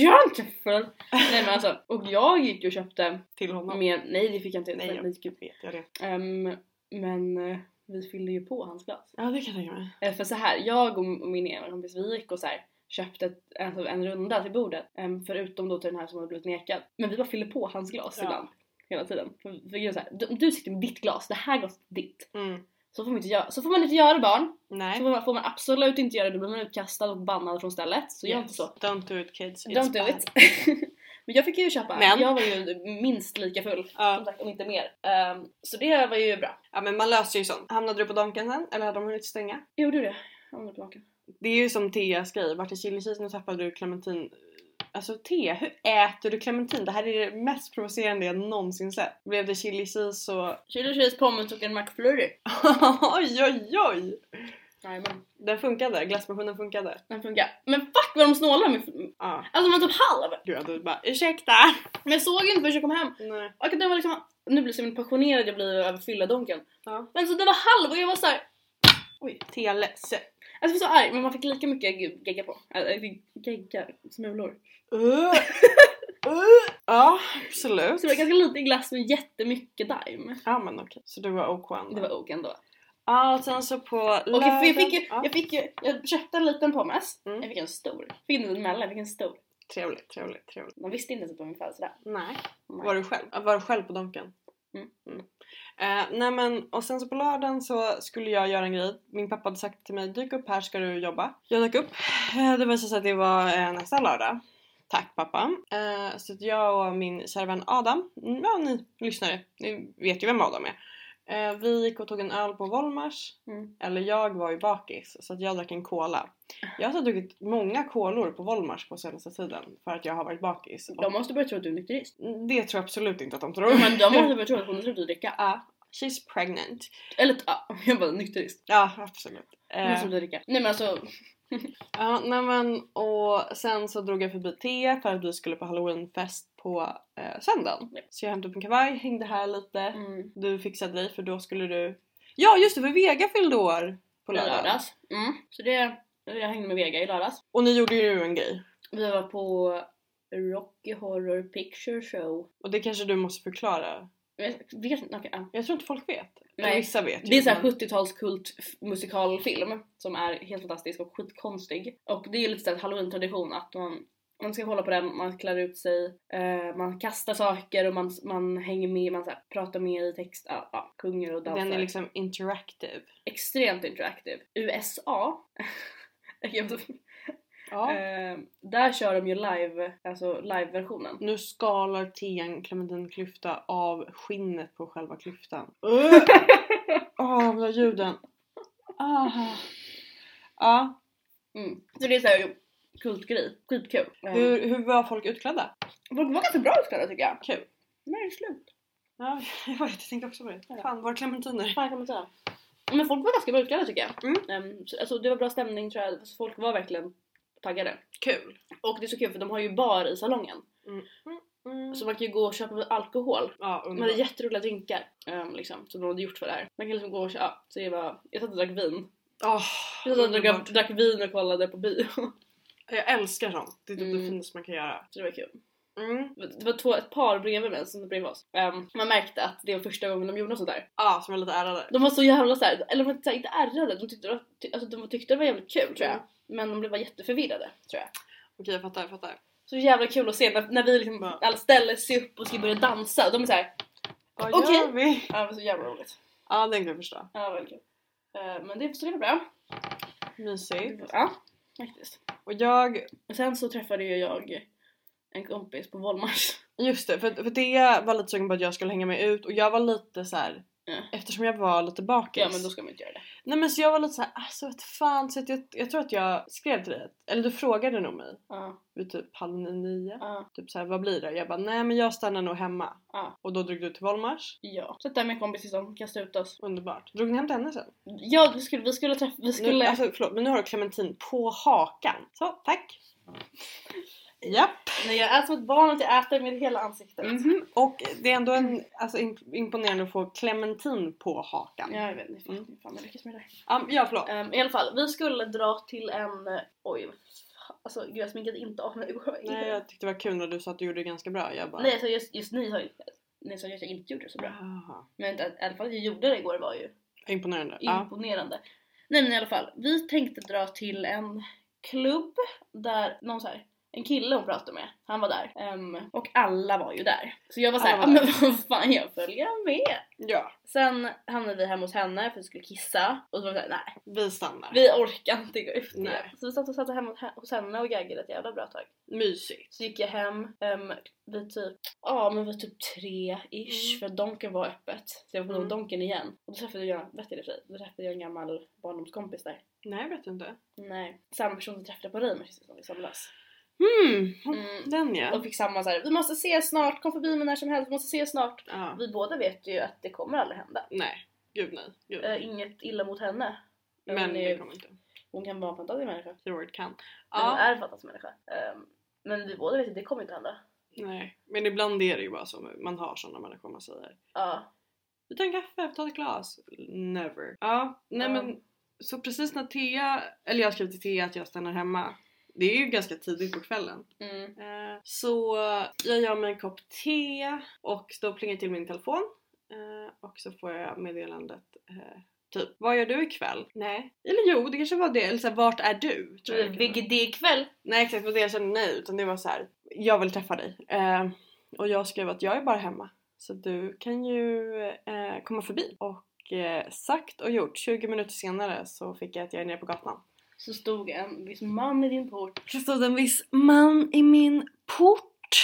Speaker 2: Jag är inte full! Nej men alltså, och jag gick ju och köpte
Speaker 1: Till honom.
Speaker 2: mer, nej det fick jag inte.
Speaker 1: Nej,
Speaker 2: Nej, gud.
Speaker 1: Vet jag det.
Speaker 2: Ehm, men eh, vi fyllde ju på hans glas.
Speaker 1: Ja det kan jag tänka mig.
Speaker 2: Eh, För så här, jag och och min ena kompis vi gick och så här, köpte ett, alltså en runda till bordet. em, förutom då till den här som hade blivit nekad. Men vi bara fyllde på hans glas
Speaker 1: Ja.
Speaker 2: ibland. Hela tiden. För, för grejen är så här, du, du sitter med ditt glas, det här glaset är ditt.
Speaker 1: Mm.
Speaker 2: Så får man inte göra, så får man inte göra barn. Så
Speaker 1: Nej.
Speaker 2: får man, får man absolut inte göra det, då blir man utkastad och bannad från stället. Så gör
Speaker 1: Yes.
Speaker 2: inte så.
Speaker 1: Don't do it kids. It's
Speaker 2: Don't do
Speaker 1: bad.
Speaker 2: it. Men jag fick ju köpa,
Speaker 1: Men.
Speaker 2: jag var ju minst lika full. Som
Speaker 1: Ja.
Speaker 2: sagt, om inte mer. Em, så det var ju bra.
Speaker 1: ja men man löser ju sånt. Hamnade du på Donken sen? Eller hade de hunnit stänga?
Speaker 2: Gjorde du det? Om du är tillbaka.
Speaker 1: Det är ju som Theas grej. Vart i chilishisen och tappade du clementin. Alltså Thea, hur äter du clementin? Det här är det mest provocerande jag någonsin sett. Blev det chilisis så...
Speaker 2: Chili cheese, pommes och en McFlurry.
Speaker 1: oj oj oj!
Speaker 2: Jajamän.
Speaker 1: Den funkade, glassmaskinen funkade.
Speaker 2: Den funkar. Men fuck vad de snålar med...
Speaker 1: Ja.
Speaker 2: Alltså de var typ halv!
Speaker 1: Gud du bara ursäkta!
Speaker 2: Men jag såg inte förrän jag kom hem.
Speaker 1: Nej.
Speaker 2: Och den var liksom... Nu blir jag så passionerad jag blir över fylladonken.
Speaker 1: Ja.
Speaker 2: Men så den var halv och jag var så här.
Speaker 1: Oj, Thea ledsen.
Speaker 2: Alltså jag var så arg men man fick lika mycket ge- gegga på. Eller äh, jag fick geggar, smulor.
Speaker 1: Uh. Uh. Ja, absolut.
Speaker 2: Så det var ganska lite glass men jättemycket daim.
Speaker 1: Ja men okej, så du var OK
Speaker 2: Det
Speaker 1: ändå.
Speaker 2: var ok ändå.
Speaker 1: Ja och sen så på
Speaker 2: Och jag, jag, fick ju,
Speaker 1: Ja.
Speaker 2: jag fick ju, jag köpte en liten pommes.
Speaker 1: Mm.
Speaker 2: Jag fick en stor. Fick inte en mellan, jag fick en stor.
Speaker 1: Trevligt, trevligt, trevligt.
Speaker 2: De visste inte ens att det var min födelsedag.
Speaker 1: Nej.
Speaker 2: Nej.
Speaker 1: Var du själv? Ja, Var du själv på Donken?
Speaker 2: Mm.
Speaker 1: Eh, nej men och sen så på lördagen så skulle jag göra en grej. Min pappa hade sagt till mig dyk upp här ska du jobba. Jag dök upp. Eh, det visade sig att det var eh, nästa lördag. Tack pappa. Eh, så att jag och min kära vän Adam, mm, ja ni lyssnare, ni vet ju vem Adam är. Eh, vi gick och tog en öl på Volmars.
Speaker 2: Mm.
Speaker 1: Eller jag var ju bakis så att jag drack en cola. Jag har så druckit många kolor på Volmars på senaste tiden för att jag har varit bakis. Och
Speaker 2: De måste börja tro att du är nykterist.
Speaker 1: det tror jag absolut inte att de tror.
Speaker 2: Men de måste börja tro att hon har slutat dricka.
Speaker 1: Ja, she's pregnant.
Speaker 2: Eller ja, jag bara nykterist.
Speaker 1: Ja, absolut.
Speaker 2: Jag
Speaker 1: Eh,
Speaker 2: måste dricka. Nej men alltså,
Speaker 1: ja, nej men, och sen så drog jag förbi Thea för att vi skulle på halloweenfest på eh, söndagen.
Speaker 2: Ja.
Speaker 1: Så jag hämtade upp en kavaj, hängde här lite.
Speaker 2: mm,
Speaker 1: Du fixade dig för då skulle du... Ja just det, för Vega fyllde år på
Speaker 2: på
Speaker 1: lördagen.
Speaker 2: lördags. Mm. Så det, jag hängde med Vega i lördags.
Speaker 1: Och ni gjorde ju en grej.
Speaker 2: Vi var på Rocky Horror Picture Show.
Speaker 1: Och det kanske du måste förklara.
Speaker 2: Jag vet inte, okej, ja.
Speaker 1: Jag tror inte folk vet. Eller
Speaker 2: Nej.
Speaker 1: vissa vet ju,
Speaker 2: Det är såhär
Speaker 1: men-
Speaker 2: 70-tals kult f- musikalfilm som är helt fantastisk och skitkonstig. Och det är ju lite såhär halloween-tradition att man, man ska kolla på den, man klär ut sig, eh, man kastar saker och man, man hänger med, man så här, pratar med i text, ja, ja, sjunger och dansar.
Speaker 1: Den är liksom interactive.
Speaker 2: Extremt interactive. USA jag-
Speaker 1: Ja.
Speaker 2: Eh, där kör de ju live, alltså live-versionen.
Speaker 1: Nu skalar Tian clementinklyfta av skinnet på själva klyftan. Åh, de där ljuden. Ah. Ja,
Speaker 2: Mm. Så det är såhär kultgrej, skitkul. Eh,
Speaker 1: hur, hur var folk utklädda?
Speaker 2: Folk var ganska bra utklädda tycker jag.
Speaker 1: Kul.
Speaker 2: När är det slut?
Speaker 1: Ja, jag vet, jag tänkte också på det. Fan, var är clementiner?
Speaker 2: Fan, jag kommer inte ihåg. Men folk var ganska bra utklädda tycker jag.
Speaker 1: Mm.
Speaker 2: Ehm, så, alltså, det var bra stämning tror jag, Så folk var verkligen taggade.
Speaker 1: Kul.
Speaker 2: Och det är så kul för de har ju bar i salongen.
Speaker 1: Mm.
Speaker 2: Så man kan ju gå och köpa alkohol.
Speaker 1: Ja,
Speaker 2: De hade
Speaker 1: underbart.
Speaker 2: jätteroliga drinkar ehm, liksom, som de hade gjort för det här. Man kan liksom gå och köpa, ja, så det var, jag satt och drack vin.
Speaker 1: Åh,
Speaker 2: Jag satt och drack,
Speaker 1: underbart.
Speaker 2: drack vin och kollade på bio.
Speaker 1: jag älskar sånt. Det är typ det
Speaker 2: Mm.
Speaker 1: finaste man kan göra.
Speaker 2: så det var kul.
Speaker 1: Mm.
Speaker 2: Det var två, ett par bredvid mig som bredvid oss. Ehm, man märkte att det var första gången de gjorde något sånt där.
Speaker 1: Ja, som är lite ärrade.
Speaker 2: De var så jävla såhär, eller de var såhär, inte ärrade, de tyckte, det var- ty, alltså, de tyckte det var jävligt kul tror jag.
Speaker 1: Mm.
Speaker 2: Men de blev bara jätteförvirrade tror jag.
Speaker 1: Okej, jag fattar, jag fattar.
Speaker 2: Så jävla kul att se när, när vi liksom
Speaker 1: Ja.
Speaker 2: alla ställer sig upp och ska börja dansa och de är såhär,
Speaker 1: Vad
Speaker 2: Okej.
Speaker 1: gör vi?
Speaker 2: ja det var så jävla roligt.
Speaker 1: Ja, den kan jag förstå.
Speaker 2: Ja väldigt kul. Ehm, men det, så det var bra.
Speaker 1: Mysigt.
Speaker 2: Ja, faktiskt.
Speaker 1: Och jag
Speaker 2: Och sen så träffade ju jag en kompis på Volmars.
Speaker 1: Just det, för, för det var lite sugen på att jag skulle hänga med ut och jag var lite så här.
Speaker 2: Ja.
Speaker 1: Eftersom jag var lite bakis.
Speaker 2: Ja men då ska man inte göra det.
Speaker 1: Nej men så jag var lite såhär, alltså vet fan. Så att jag, jag tror att jag skrev till dig, att- eller du frågade nog mig
Speaker 2: Ja,
Speaker 1: vid typ halv nio.
Speaker 2: ja,
Speaker 1: Typ såhär, vad blir det? Jag bara, nej men jag stannar nog hemma.
Speaker 2: ja.
Speaker 1: Och då drog du till Volmars.
Speaker 2: ja. Sätt där med en kompis som kastar ut oss.
Speaker 1: Underbart. Drog ni hem till henne sen?
Speaker 2: Ja, vi skulle, vi skulle träffa, vi skulle...
Speaker 1: Nu, alltså förlåt, men nu har du clementin på hakan. Så, tack. Japp.
Speaker 2: Nej jag är som ett barn att jag äter med hela ansiktet.
Speaker 1: Mhm. Och det är ändå en, alltså, imp- imponerande att få clementin på hakan. Ja,
Speaker 2: Ja, jag vet inte fan,
Speaker 1: Mm.
Speaker 2: hur fan jag lyckas med det.
Speaker 1: ja förlåt.
Speaker 2: Ehm, I alla fall, vi skulle dra till en... eh, Oj, vad fan. alltså gud jag sminkade inte av mig.
Speaker 1: Nej, jag tyckte det var kul när du sa att du gjorde det ganska bra. Jag bara...
Speaker 2: Nej alltså just, just ni har ju... Ni sa ju att jag inte gjorde det så bra.
Speaker 1: Aha.
Speaker 2: Men att, i alla fall att jag gjorde det igår var ju
Speaker 1: Imponerande. Ja.
Speaker 2: imponerande. Nej men i alla fall, vi tänkte dra till en klubb där någon så här, en kille hon pratade med, han var där. Ehm, och alla var ju där. Så jag var såhär,
Speaker 1: Alla
Speaker 2: ah,
Speaker 1: var
Speaker 2: men vad fan jag följer med.
Speaker 1: ja,
Speaker 2: Sen hamnade vi hemma hos henne för vi skulle kissa och så var vi såhär, nej
Speaker 1: vi stannar.
Speaker 2: vi orkar inte gå ut
Speaker 1: Nej.
Speaker 2: nu. Så vi satt och satt hemma hos henne och gaggade ett jävla bra tag.
Speaker 1: Mysigt.
Speaker 2: Så gick jag hem um, vid typ, ja men vid typ tre ish
Speaker 1: Mm.
Speaker 2: för Donken var öppet. Så jag var på
Speaker 1: Mm.
Speaker 2: Donken igen. Och då träffade jag, vet jag det i och för sig, då träffade jag en gammal barndomskompis där.
Speaker 1: Nej, vet du inte.
Speaker 2: Nej, samma person som träffade jag på Reimers i somras.
Speaker 1: Mm,
Speaker 2: Mm.
Speaker 1: den ja.
Speaker 2: Och fick samma såhär, vi måste ses snart, kom förbi mig när som helst, vi måste ses snart.
Speaker 1: ja.
Speaker 2: Vi båda vet ju att det kommer aldrig hända.
Speaker 1: Nej, gud nej. Gud.
Speaker 2: Eh, inget illa mot henne.
Speaker 1: Men
Speaker 2: hon,
Speaker 1: det
Speaker 2: är,
Speaker 1: kommer inte.
Speaker 2: hon kan vara en fantastisk människa.
Speaker 1: Keyword kan.
Speaker 2: Men Hon
Speaker 1: Ja.
Speaker 2: är en fantastisk människa. Ehm, men vi båda vet att det kommer inte hända.
Speaker 1: Nej. Men ibland är det ju bara så man har sådana människor man säger.
Speaker 2: Ja.
Speaker 1: Vi tar en kaffe, vi tar ett glas. Never. Ja, nej
Speaker 2: Ja.
Speaker 1: men. Så precis när Thea, eller jag skrev till Thea att jag stannar hemma. Det är ju ganska tidigt på kvällen.
Speaker 2: Mm.
Speaker 1: Eh, Så jag gör mig en kopp te och då plingar till min telefon. Eh, Och så får jag meddelandet eh, typ Vad gör du ikväll? Nej. Eller jo, det kanske var det. Eller så här, vart är du? Tror jag.
Speaker 2: Vilket det är ikväll.
Speaker 1: Nej exakt, det var det jag kände nej. Utan det var så här. Jag vill träffa dig. Eh, Och jag skrev att jag är bara hemma. Så du kan ju eh, komma förbi. Och eh, sagt och gjort. 20 minuter senare så fick jag att jag är nere på gatan.
Speaker 2: Så stod en viss man i din port.
Speaker 1: Det stod en viss man i min port.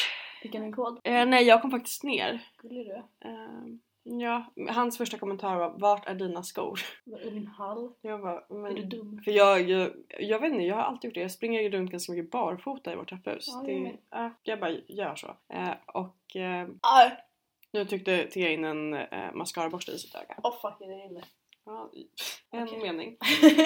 Speaker 2: Fick han en kod?
Speaker 1: Eh, nej, jag kom faktiskt ner.
Speaker 2: Gullig du är.
Speaker 1: Ehm, ja, hans första kommentar var Vart är dina skor?
Speaker 2: Vad är din hall?
Speaker 1: Jag bara,
Speaker 2: Är du
Speaker 1: men...
Speaker 2: dum?
Speaker 1: För jag, jag, jag vet inte, jag har alltid gjort det. Jag springer ju runt ganska mycket barfota i vårt trapphus.
Speaker 2: Ja, jag
Speaker 1: det,
Speaker 2: med.
Speaker 1: ja, jag bara gör så. Eh, och eh,
Speaker 2: Åh
Speaker 1: nu tryckte Thea in en eh, mascaraborste i sitt öga.
Speaker 2: oh, fuck, det är inne.
Speaker 1: Ja, en
Speaker 2: Okej.
Speaker 1: mening.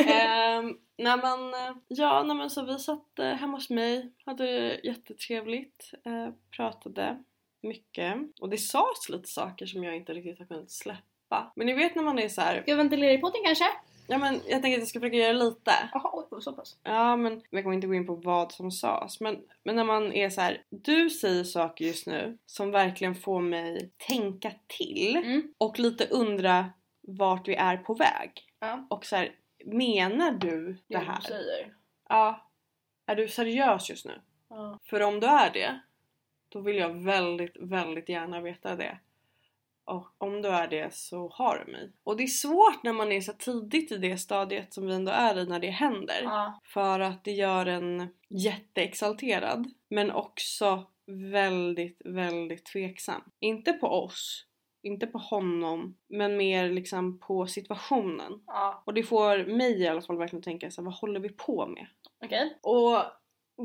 Speaker 2: Eh,
Speaker 1: Ehm, nej men, eh, ja, nej men så vi satt eh, hemma hos mig, hade det jättetrevligt, eh, pratade mycket. Och det sades lite saker som jag inte riktigt har kunnat släppa. Men ni vet när man är så här,
Speaker 2: Ska jag ventilera i podden kanske?
Speaker 1: ja men jag tänker att jag ska försöka göra lite.
Speaker 2: Jaha, oj, så pass.
Speaker 1: Ja men jag kommer inte gå in på vad som sades. Men, men när man är så här, du säger saker just nu som verkligen får mig tänka till
Speaker 2: Mm.
Speaker 1: och lite undra vart vi är på väg.
Speaker 2: Ja.
Speaker 1: Och så här, menar du det
Speaker 2: Jo,
Speaker 1: här?
Speaker 2: du säger.
Speaker 1: Ja. Är du seriös just nu?
Speaker 2: Ja.
Speaker 1: För om du är det, då vill jag väldigt, väldigt gärna veta det. Och om du är det så har du mig. Och det är svårt när man är så tidigt i det stadiet som vi ändå är i när det händer.
Speaker 2: Ja.
Speaker 1: För att det gör en jätteexalterad men också väldigt, väldigt tveksam. Inte på oss, inte på honom, men mer liksom på situationen.
Speaker 2: ja.
Speaker 1: Och det får mig i alla fall verkligen tänka så här, vad håller vi på med?
Speaker 2: Okej.
Speaker 1: Och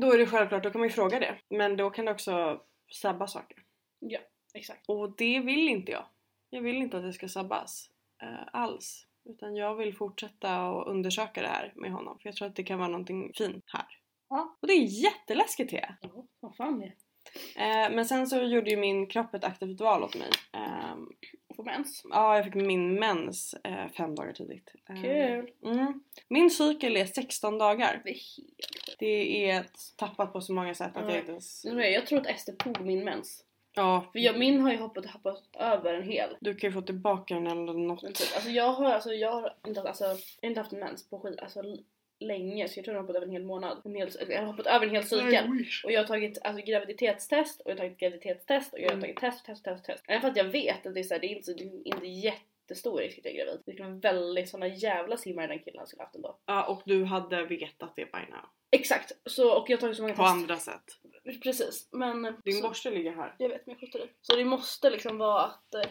Speaker 1: då är det självklart, då kan man ju fråga det. Men då kan det också sabba saker.
Speaker 2: Exakt.
Speaker 1: Och det vill inte jag. Jag vill inte att det ska sabbas eh, alls. Utan jag vill fortsätta och undersöka det här med honom. För jag tror att det kan vara någonting fint här.
Speaker 2: Ja.
Speaker 1: Och det är jätteläskigt det.
Speaker 2: Ja, vad fan det.
Speaker 1: Eh, men sen så gjorde ju min kropp ett aktivt val åt mig. Ehm,
Speaker 2: Och få mens.
Speaker 1: Ja, jag fick min mens eh, fem dagar tidigt. Ehm,
Speaker 2: Kul.
Speaker 1: Mm. Min cykel är 16 dagar.
Speaker 2: Det är helt...
Speaker 1: Det är tappat på så många sätt att jag
Speaker 2: Mm.
Speaker 1: inte ens...
Speaker 2: Nu är jag- Jag tror att Ester tog min mens.
Speaker 1: Ja,
Speaker 2: För jag, min har ju hoppat, hoppat över en hel.
Speaker 1: du kan ju få tillbaka den eller
Speaker 2: Men
Speaker 1: något.
Speaker 2: typ, alltså jag har, alltså, jag har inte, haft- alltså, jag har inte haft mens på skit, alltså, l- länge så jag tror jag har hoppat över en hel månad. En hel, jag har hoppat över en hel cykel. Och jag har tagit alltså, graviditetstest och jag har tagit graviditetstest och jag har
Speaker 1: Mm.
Speaker 2: tagit test, test, test, test. Även för att jag vet att det är, så här, det är inte, det är inte jättestor risk att jag är gravid. Det skulle vara väldigt såna jävla simmar den killen skulle haft ändå.
Speaker 1: Ja, och du hade vetat det by now.
Speaker 2: Exakt! Så, och jag har tagit så många
Speaker 1: På
Speaker 2: test.
Speaker 1: andra sätt.
Speaker 2: Precis. Men...
Speaker 1: Din
Speaker 2: så,
Speaker 1: borste ligger här.
Speaker 2: jag vet men jag skjuter i. Så det måste liksom vara att eh,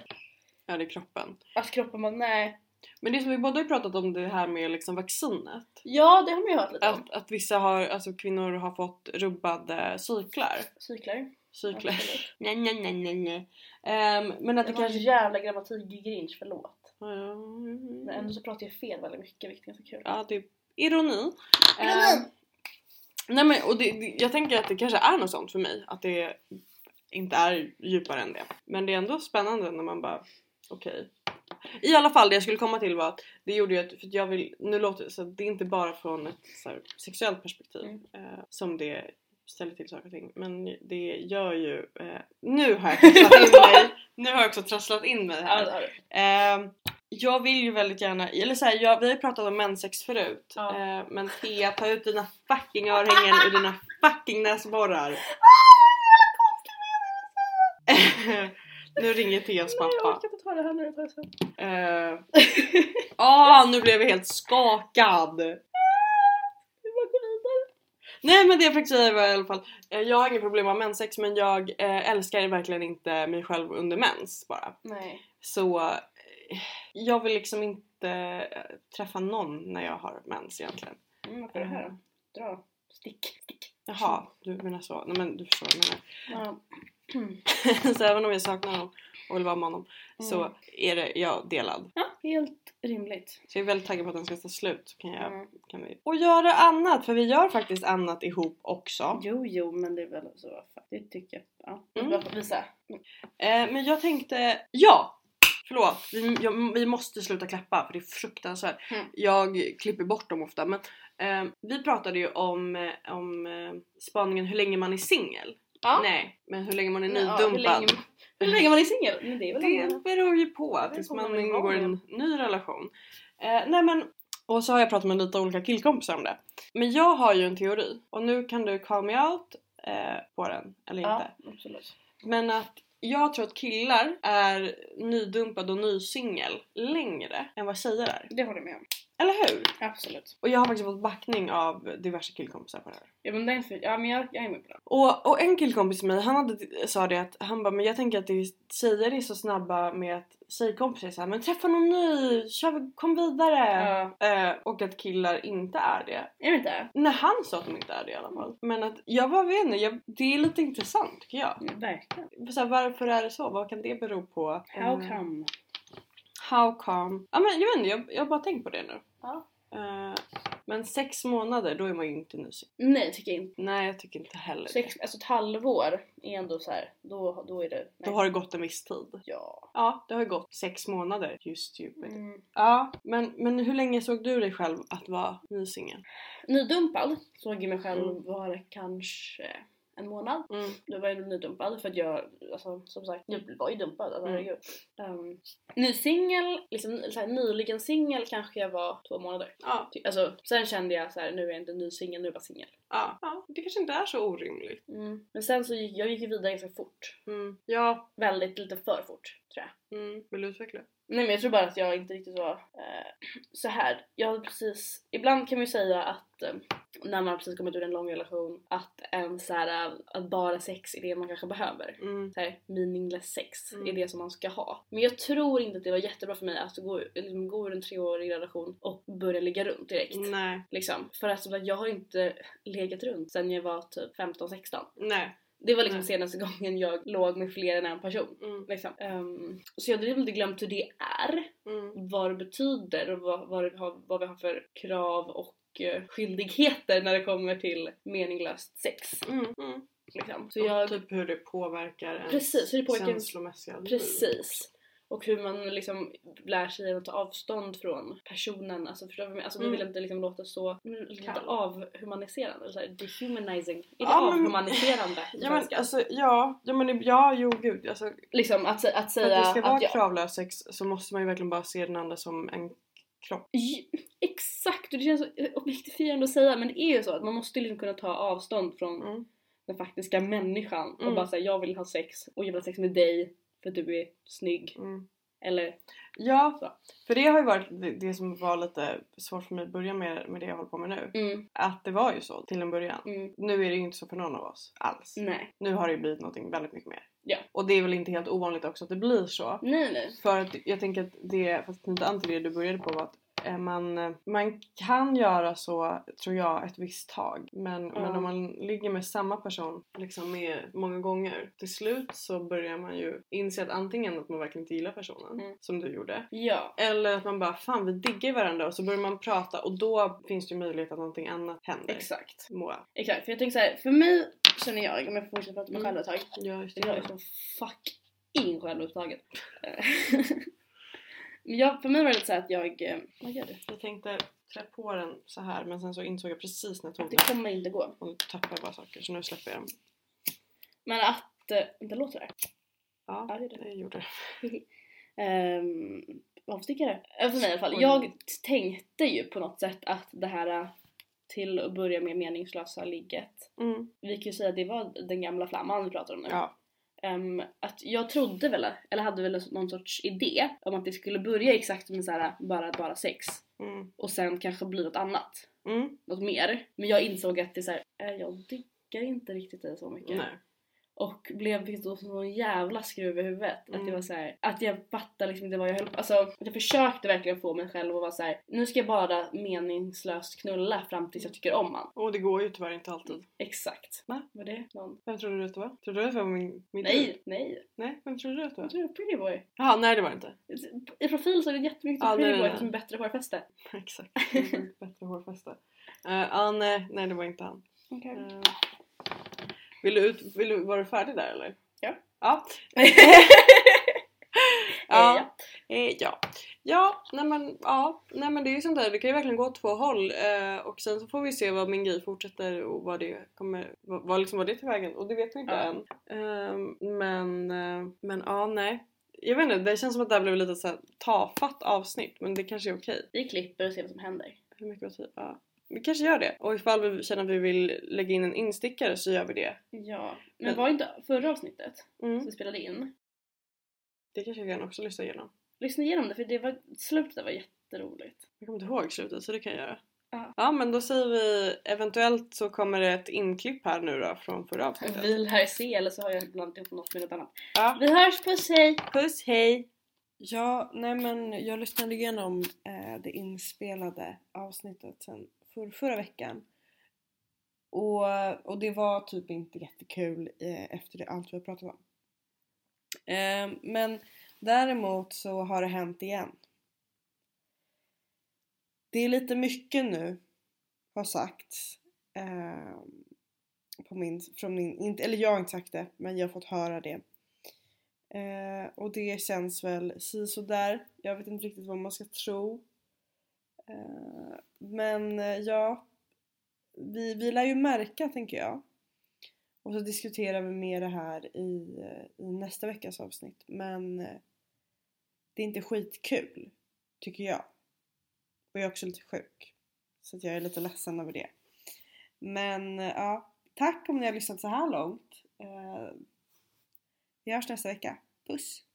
Speaker 1: Ja, det är kroppen.
Speaker 2: Att kroppen bara nej.
Speaker 1: Men det som vi båda har pratat om det här med liksom vaccinet.
Speaker 2: Ja det har man ju hört lite om.
Speaker 1: Att, att vissa har, alltså kvinnor har fått rubbade cyklar.
Speaker 2: Cyklar.
Speaker 1: Cyklar.
Speaker 2: Absolut.
Speaker 1: Nej, nej, nej, nej, nej. Ehm, men att
Speaker 2: Det
Speaker 1: det
Speaker 2: var en
Speaker 1: kanske...
Speaker 2: jävla grammatik-grinch, förlåt.
Speaker 1: Ja,
Speaker 2: Men ändå så pratar jag fel väldigt mycket vilket är ganska kul.
Speaker 1: Mm. Ja, det är ironi.
Speaker 2: Ironi.
Speaker 1: Ehm, nej men och det, det, jag tänker att det kanske är något sånt för mig. Att det inte är djupare än det. Men det är ändå spännande när man bara okej. I alla fall det jag skulle komma till var att det gjorde ju att, för att jag vill, nu låter det så att det är inte bara från ett så här, sexuellt perspektiv
Speaker 2: Mm.
Speaker 1: eh, som det ställer till saker och ting. Men det gör ju, eh, nu har jag trasslat in mig, nu har jag också trasslat in mig här.
Speaker 2: Ja, det har du.
Speaker 1: Ehm, jag vill ju väldigt gärna, eller såhär, jag, vi har ju pratat om menssex förut.
Speaker 2: Ja.
Speaker 1: Ehm, men Thea, ta ut dina fucking örhängen ur dina fucking näsborrar. nu ringer Theas
Speaker 2: Nej, jag
Speaker 1: pappa.
Speaker 2: orkar inte ta det här nu. jag tar det sen.
Speaker 1: Ehm, Ah, nu blev jag helt skakad!
Speaker 2: Vi bara går vidare.
Speaker 1: Nej men det jag försökte säga var i alla fall, eh, jag har inga problem med menssex men jag eh, älskar verkligen inte mig själv under mens bara.
Speaker 2: Nej.
Speaker 1: Så eh, jag vill liksom inte eh, träffa någon när jag har mens egentligen.
Speaker 2: Mm, vad är det här då? Dra. Stick. Stick.
Speaker 1: Jaha, du menar så. Nej men du förstår vad jag
Speaker 2: Ja.
Speaker 1: menar. så även om jag saknar honom och vill vara med honom
Speaker 2: Mm.
Speaker 1: så är det jag delad.
Speaker 2: ja, helt rimligt.
Speaker 1: Så jag är väldigt taggad på att den ska ta slut. Så Kan jag,
Speaker 2: Mm.
Speaker 1: kan vi... Och göra annat, för vi gör faktiskt annat ihop också.
Speaker 2: Jo, jo, men det är väl så. Det tycker jag. Ja.
Speaker 1: Mm.
Speaker 2: Mm. Visa.
Speaker 1: Eh, men jag tänkte, ja! Förlåt, vi, jag, vi måste sluta klappa för det är fruktansvärt.
Speaker 2: Mm.
Speaker 1: Jag klipper bort dem ofta men eh, vi pratade ju om, eh, om eh, spaningen hur länge man är singel.
Speaker 2: Ja.
Speaker 1: Nej, men hur länge man är
Speaker 2: Nej, ja,
Speaker 1: nydumpad.
Speaker 2: hur länge- Hur länge var ni singel? Men det är väl
Speaker 1: Det beror ju på
Speaker 2: Det
Speaker 1: tills
Speaker 2: beror på
Speaker 1: man
Speaker 2: vad det var
Speaker 1: ingår i en ny relation. Eh, nej men, och så har jag pratat med lite olika killkompisar om det. Men jag har ju en teori och nu kan du call me out eh, på den eller inte.
Speaker 2: Ja, absolut.
Speaker 1: Men att jag tror att killar är nydumpade och nysingel längre än vad tjejer är.
Speaker 2: Det håller jag med om.
Speaker 1: Eller hur?
Speaker 2: Absolut.
Speaker 1: Och jag har faktiskt fått backning av diverse killkompisar på det här.
Speaker 2: Ja, men, därför, ja, men jag, jag är med på det.
Speaker 1: Och, och en killkompis med mig, han hade, sa det att han bara men jag tänker att det är, tjejer är så snabba med att tjejkompisar är såhär men träffa någon ny, kör, kom vidare.
Speaker 2: Ja.
Speaker 1: Eh, och att killar inte är det.
Speaker 2: Är det inte?
Speaker 1: När han sa att de inte är det i alla fall. Men att jag bara vet inte, jag, det är lite intressant tycker jag.
Speaker 2: Ja, Verkligen.
Speaker 1: Så här, varför är det så? Vad kan det bero på?
Speaker 2: How
Speaker 1: Eh,
Speaker 2: come?
Speaker 1: How come? Ja men jag vet inte, jag, jag har bara tänkt på det nu.
Speaker 2: Ja.
Speaker 1: Eh, men sex månader, då är man ju inte nysig.
Speaker 2: Nej, tycker jag inte.
Speaker 1: Nej jag tycker inte heller det.
Speaker 2: Sex, alltså ett halvår är ändå så här. då, då är det...
Speaker 1: Då har det gått en viss tid.
Speaker 2: Ja.
Speaker 1: Ja, det har ju gått sex månader. Just stupid.
Speaker 2: Mm.
Speaker 1: Ja, men, men hur länge såg du dig själv att vara nysingel?
Speaker 2: Nydumpad såg jag mig själv
Speaker 1: Mm.
Speaker 2: vara kanske en månad.
Speaker 1: Mm.
Speaker 2: Då var jag nydumpad för att jag, alltså, som sagt, jag var ju dumpad. Alltså,
Speaker 1: Mm.
Speaker 2: herregud. Ehm, ny singel, liksom, så här, nyligen singel kanske jag var två månader.
Speaker 1: Ja,
Speaker 2: Ty- Alltså, sen kände jag så här, nu är jag inte ny singel, nu är jag bara singel.
Speaker 1: ja, ja, det kanske inte är så orimligt.
Speaker 2: Mm. Men sen så gick jag gick ju vidare ganska fort.
Speaker 1: Mm. Ja.
Speaker 2: Väldigt lite för fort tror jag.
Speaker 1: Mm. Vill du utveckla?
Speaker 2: Nej men jag tror bara att jag inte riktigt var eh, så här. Jag hade precis, ibland kan man ju säga att eh, när man har precis kommit ur en lång relation att en så här, eh, att bara sex är det man kanske behöver.
Speaker 1: Mm.
Speaker 2: Så här, meaningless sex
Speaker 1: Mm.
Speaker 2: är det som man ska ha. Men jag tror inte att det var jättebra för mig att gå, liksom, gå ur en treårig relation och börja ligga runt direkt.
Speaker 1: Nej,
Speaker 2: Liksom. För att alltså, jag har inte legat runt sen jag var typ 15-16.
Speaker 1: nej.
Speaker 2: Det var liksom
Speaker 1: Nej.
Speaker 2: senaste gången jag låg med fler än en person.
Speaker 1: Mm.
Speaker 2: Liksom. Ehm, så jag hade väl inte glömt hur det är,
Speaker 1: Mm.
Speaker 2: vad det betyder och vad, vad, det har, vad vi har för krav och eh, skyldigheter när det kommer till meningslöst sex.
Speaker 1: Mm. Mm.
Speaker 2: Liksom. Så
Speaker 1: Och
Speaker 2: jag,
Speaker 1: typ hur det påverkar ens
Speaker 2: Precis, hur det påverkar ens-
Speaker 1: känslomässiga liv.
Speaker 2: precis. Och hur man liksom lär sig att ta avstånd från personen. Alltså, förstår du vad jag menar? alltså, Vi
Speaker 1: Mm.
Speaker 2: vill inte liksom låta så lite
Speaker 1: Kall.
Speaker 2: avhumaniserande. Eller så här, dehumanizing. Är det
Speaker 1: Ja, men-
Speaker 2: avhumaniserande? på
Speaker 1: Ja men
Speaker 2: svenska?
Speaker 1: alltså ja, ja men det- ja jo gud alltså
Speaker 2: liksom att, sä- att
Speaker 1: För
Speaker 2: säga
Speaker 1: att det ska vara
Speaker 2: att jag
Speaker 1: kravlös sex så måste man ju verkligen bara se den andra som en kropp.
Speaker 2: J- Exakt! Och det känns så eh, objektifierande att säga men det är ju så att man måste liksom kunna ta avstånd från
Speaker 1: Mm.
Speaker 2: den faktiska människan och
Speaker 1: Mm.
Speaker 2: bara säga jag vill ha sex och jag vill ha sex med dig för att du är snygg.
Speaker 1: Mm.
Speaker 2: Eller
Speaker 1: Ja,
Speaker 2: Så.
Speaker 1: för det har ju varit det- det som var lite svårt för mig att börja med, med det jag håller på med nu.
Speaker 2: mm,
Speaker 1: Att det var ju så till en början.
Speaker 2: mm,
Speaker 1: Nu är det ju inte så för någon av oss alls.
Speaker 2: nej.
Speaker 1: Nu har det ju blivit någonting väldigt mycket mer.
Speaker 2: Mm. Ja.
Speaker 1: Och det är väl inte helt ovanligt också att det blir så.
Speaker 2: Nej nej.
Speaker 1: För att jag tänker att det, fast knyta an till det du började på var att eh, man, eh, man kan göra så, tror jag, ett visst tag. Men, men
Speaker 2: Ja.
Speaker 1: om man ligger med samma person liksom med många gånger, till slut så börjar man ju inse att antingen att man verkligen inte gillar personen,
Speaker 2: Mm.
Speaker 1: som du gjorde,
Speaker 2: Ja.
Speaker 1: eller att man bara fan vi diggar varandra och så börjar man prata och då finns det ju möjlighet att någonting annat händer.
Speaker 2: Exakt.
Speaker 1: Moa.
Speaker 2: Exakt. För jag tänker så här, för mig känner jag, om jag får fortsätta prata om mig
Speaker 1: Mm.
Speaker 2: själv ett tag.
Speaker 1: Ja, just
Speaker 2: Jag liksom är
Speaker 1: det.
Speaker 2: så fucking självupptagen. Eh, Men jag, för mig var det lite så här att jag... eh, Vad gör du?
Speaker 1: Jag tänkte trä på den så här men sen så insåg jag precis när jag tog
Speaker 2: Att
Speaker 1: den
Speaker 2: det kommer inte gå.
Speaker 1: och nu tappar jag bara saker så nu släpper jag dem.
Speaker 2: Men att... eh, Vänta, låter det? Ja,
Speaker 1: Ja,
Speaker 2: det gjorde
Speaker 1: det gjorde det.
Speaker 2: Um, avstickare. Eh, För mig i alla fall.
Speaker 1: Oj.
Speaker 2: Jag tänkte ju på något sätt att det här eh, till att börja med meningslösa ligget.
Speaker 1: Mm.
Speaker 2: Vi kan ju säga att det var den gamla flamman vi pratar om nu.
Speaker 1: Ja.
Speaker 2: Ehm, att jag trodde väl, eller hade väl någon sorts idé om att det skulle börja exakt med så här, bara, bara sex.
Speaker 1: Mm.
Speaker 2: Och sen kanske bli något annat.
Speaker 1: Mm.
Speaker 2: något mer. Men jag insåg att det är så här, eh, jag diggar inte riktigt dig så mycket.
Speaker 1: Nej.
Speaker 2: Och blev fick då sån jävla skruv i huvudet. Att det
Speaker 1: Mm.
Speaker 2: var så här, att jag fattade liksom inte vad jag höll på. Alltså att jag försökte verkligen få mig själv att vara så här. nu ska jag bara meningslöst knulla fram tills jag tycker om man.
Speaker 1: Och det går ju tyvärr inte alltid.
Speaker 2: Exakt.
Speaker 1: Va?
Speaker 2: Var det någon?
Speaker 1: Vem trodde du att det var? Trodde du att det var min, min
Speaker 2: Nej, nej.
Speaker 1: Nej, vem trodde du att det
Speaker 2: Jag
Speaker 1: var?
Speaker 2: tror det var Pretty Boy.
Speaker 1: Jaha, nej det var det inte.
Speaker 2: I profil så är det jättemycket
Speaker 1: Ja, nej,
Speaker 2: Pretty
Speaker 1: nej,
Speaker 2: Boy
Speaker 1: nej.
Speaker 2: som är bättre hårfäste.
Speaker 1: Exakt. Det var ett Bättre hårfäste. Eh, Ja, nej, nej det var inte han.
Speaker 2: Okay.
Speaker 1: Eh, vill du ut, vill du, var du färdig där eller?
Speaker 2: Ja.
Speaker 1: Ja. ja.
Speaker 2: Ja.
Speaker 1: Eh, ja. Ja, nej men, ja, nej men det är ju sånt där, det kan ju verkligen gå åt två håll eh, och sen så får vi se vad min grej fortsätter och vad det kommer, vad, vad liksom vad det tar vägen och det vet vi inte
Speaker 2: Ja.
Speaker 1: än. Ehm, men, eh, men ja, nej. Jag vet inte, det känns som att det här blev lite så här tafatt avsnitt men det kanske är okej.
Speaker 2: Vi klipper och ser vad som händer.
Speaker 1: Hur mycket var tid? Ja. Vi kanske gör det. Och ifall vi känner att vi vill lägga in en instickare så gör vi det.
Speaker 2: Ja. Men
Speaker 1: Men-
Speaker 2: var inte förra avsnittet som
Speaker 1: Mm.
Speaker 2: vi spelade in
Speaker 1: Det kanske jag kan också lyssna igenom.
Speaker 2: Lyssna igenom det för det var, slutet där var jätteroligt.
Speaker 1: Jag kommer inte ihåg slutet så det kan jag göra.
Speaker 2: Ja.
Speaker 1: Ja men då säger vi eventuellt så kommer det ett inklipp här nu då från förra avsnittet.
Speaker 2: Vi lär se eller så har jag blandat ihop något med något annat.
Speaker 1: Ja.
Speaker 2: Vi hörs, puss hej!
Speaker 1: Puss, hej! Ja, nej men jag lyssnade igenom eh, det inspelade avsnittet sen för, förra veckan. Och, och det var typ inte jättekul eh, efter det allt vi har pratat om. Eh, men däremot så har det hänt igen. Det är lite mycket nu har sagts. Eh, på min, från min, inte, eller jag har inte sagt det men jag har fått höra det Eh, och det känns väl si så där. Jag vet inte riktigt vad man ska tro. Eh, men eh, ja, vi, vi lär ju märka tänker jag. Och så diskuterar vi mer det här i, eh, i nästa veckas avsnitt. Men eh, det är inte skitkul, tycker jag. Och jag är också lite sjuk. Så att jag är lite ledsen över det. Men eh, ja, tack om ni har lyssnat så här långt. Eh, vi hörs nästa vecka. Puss!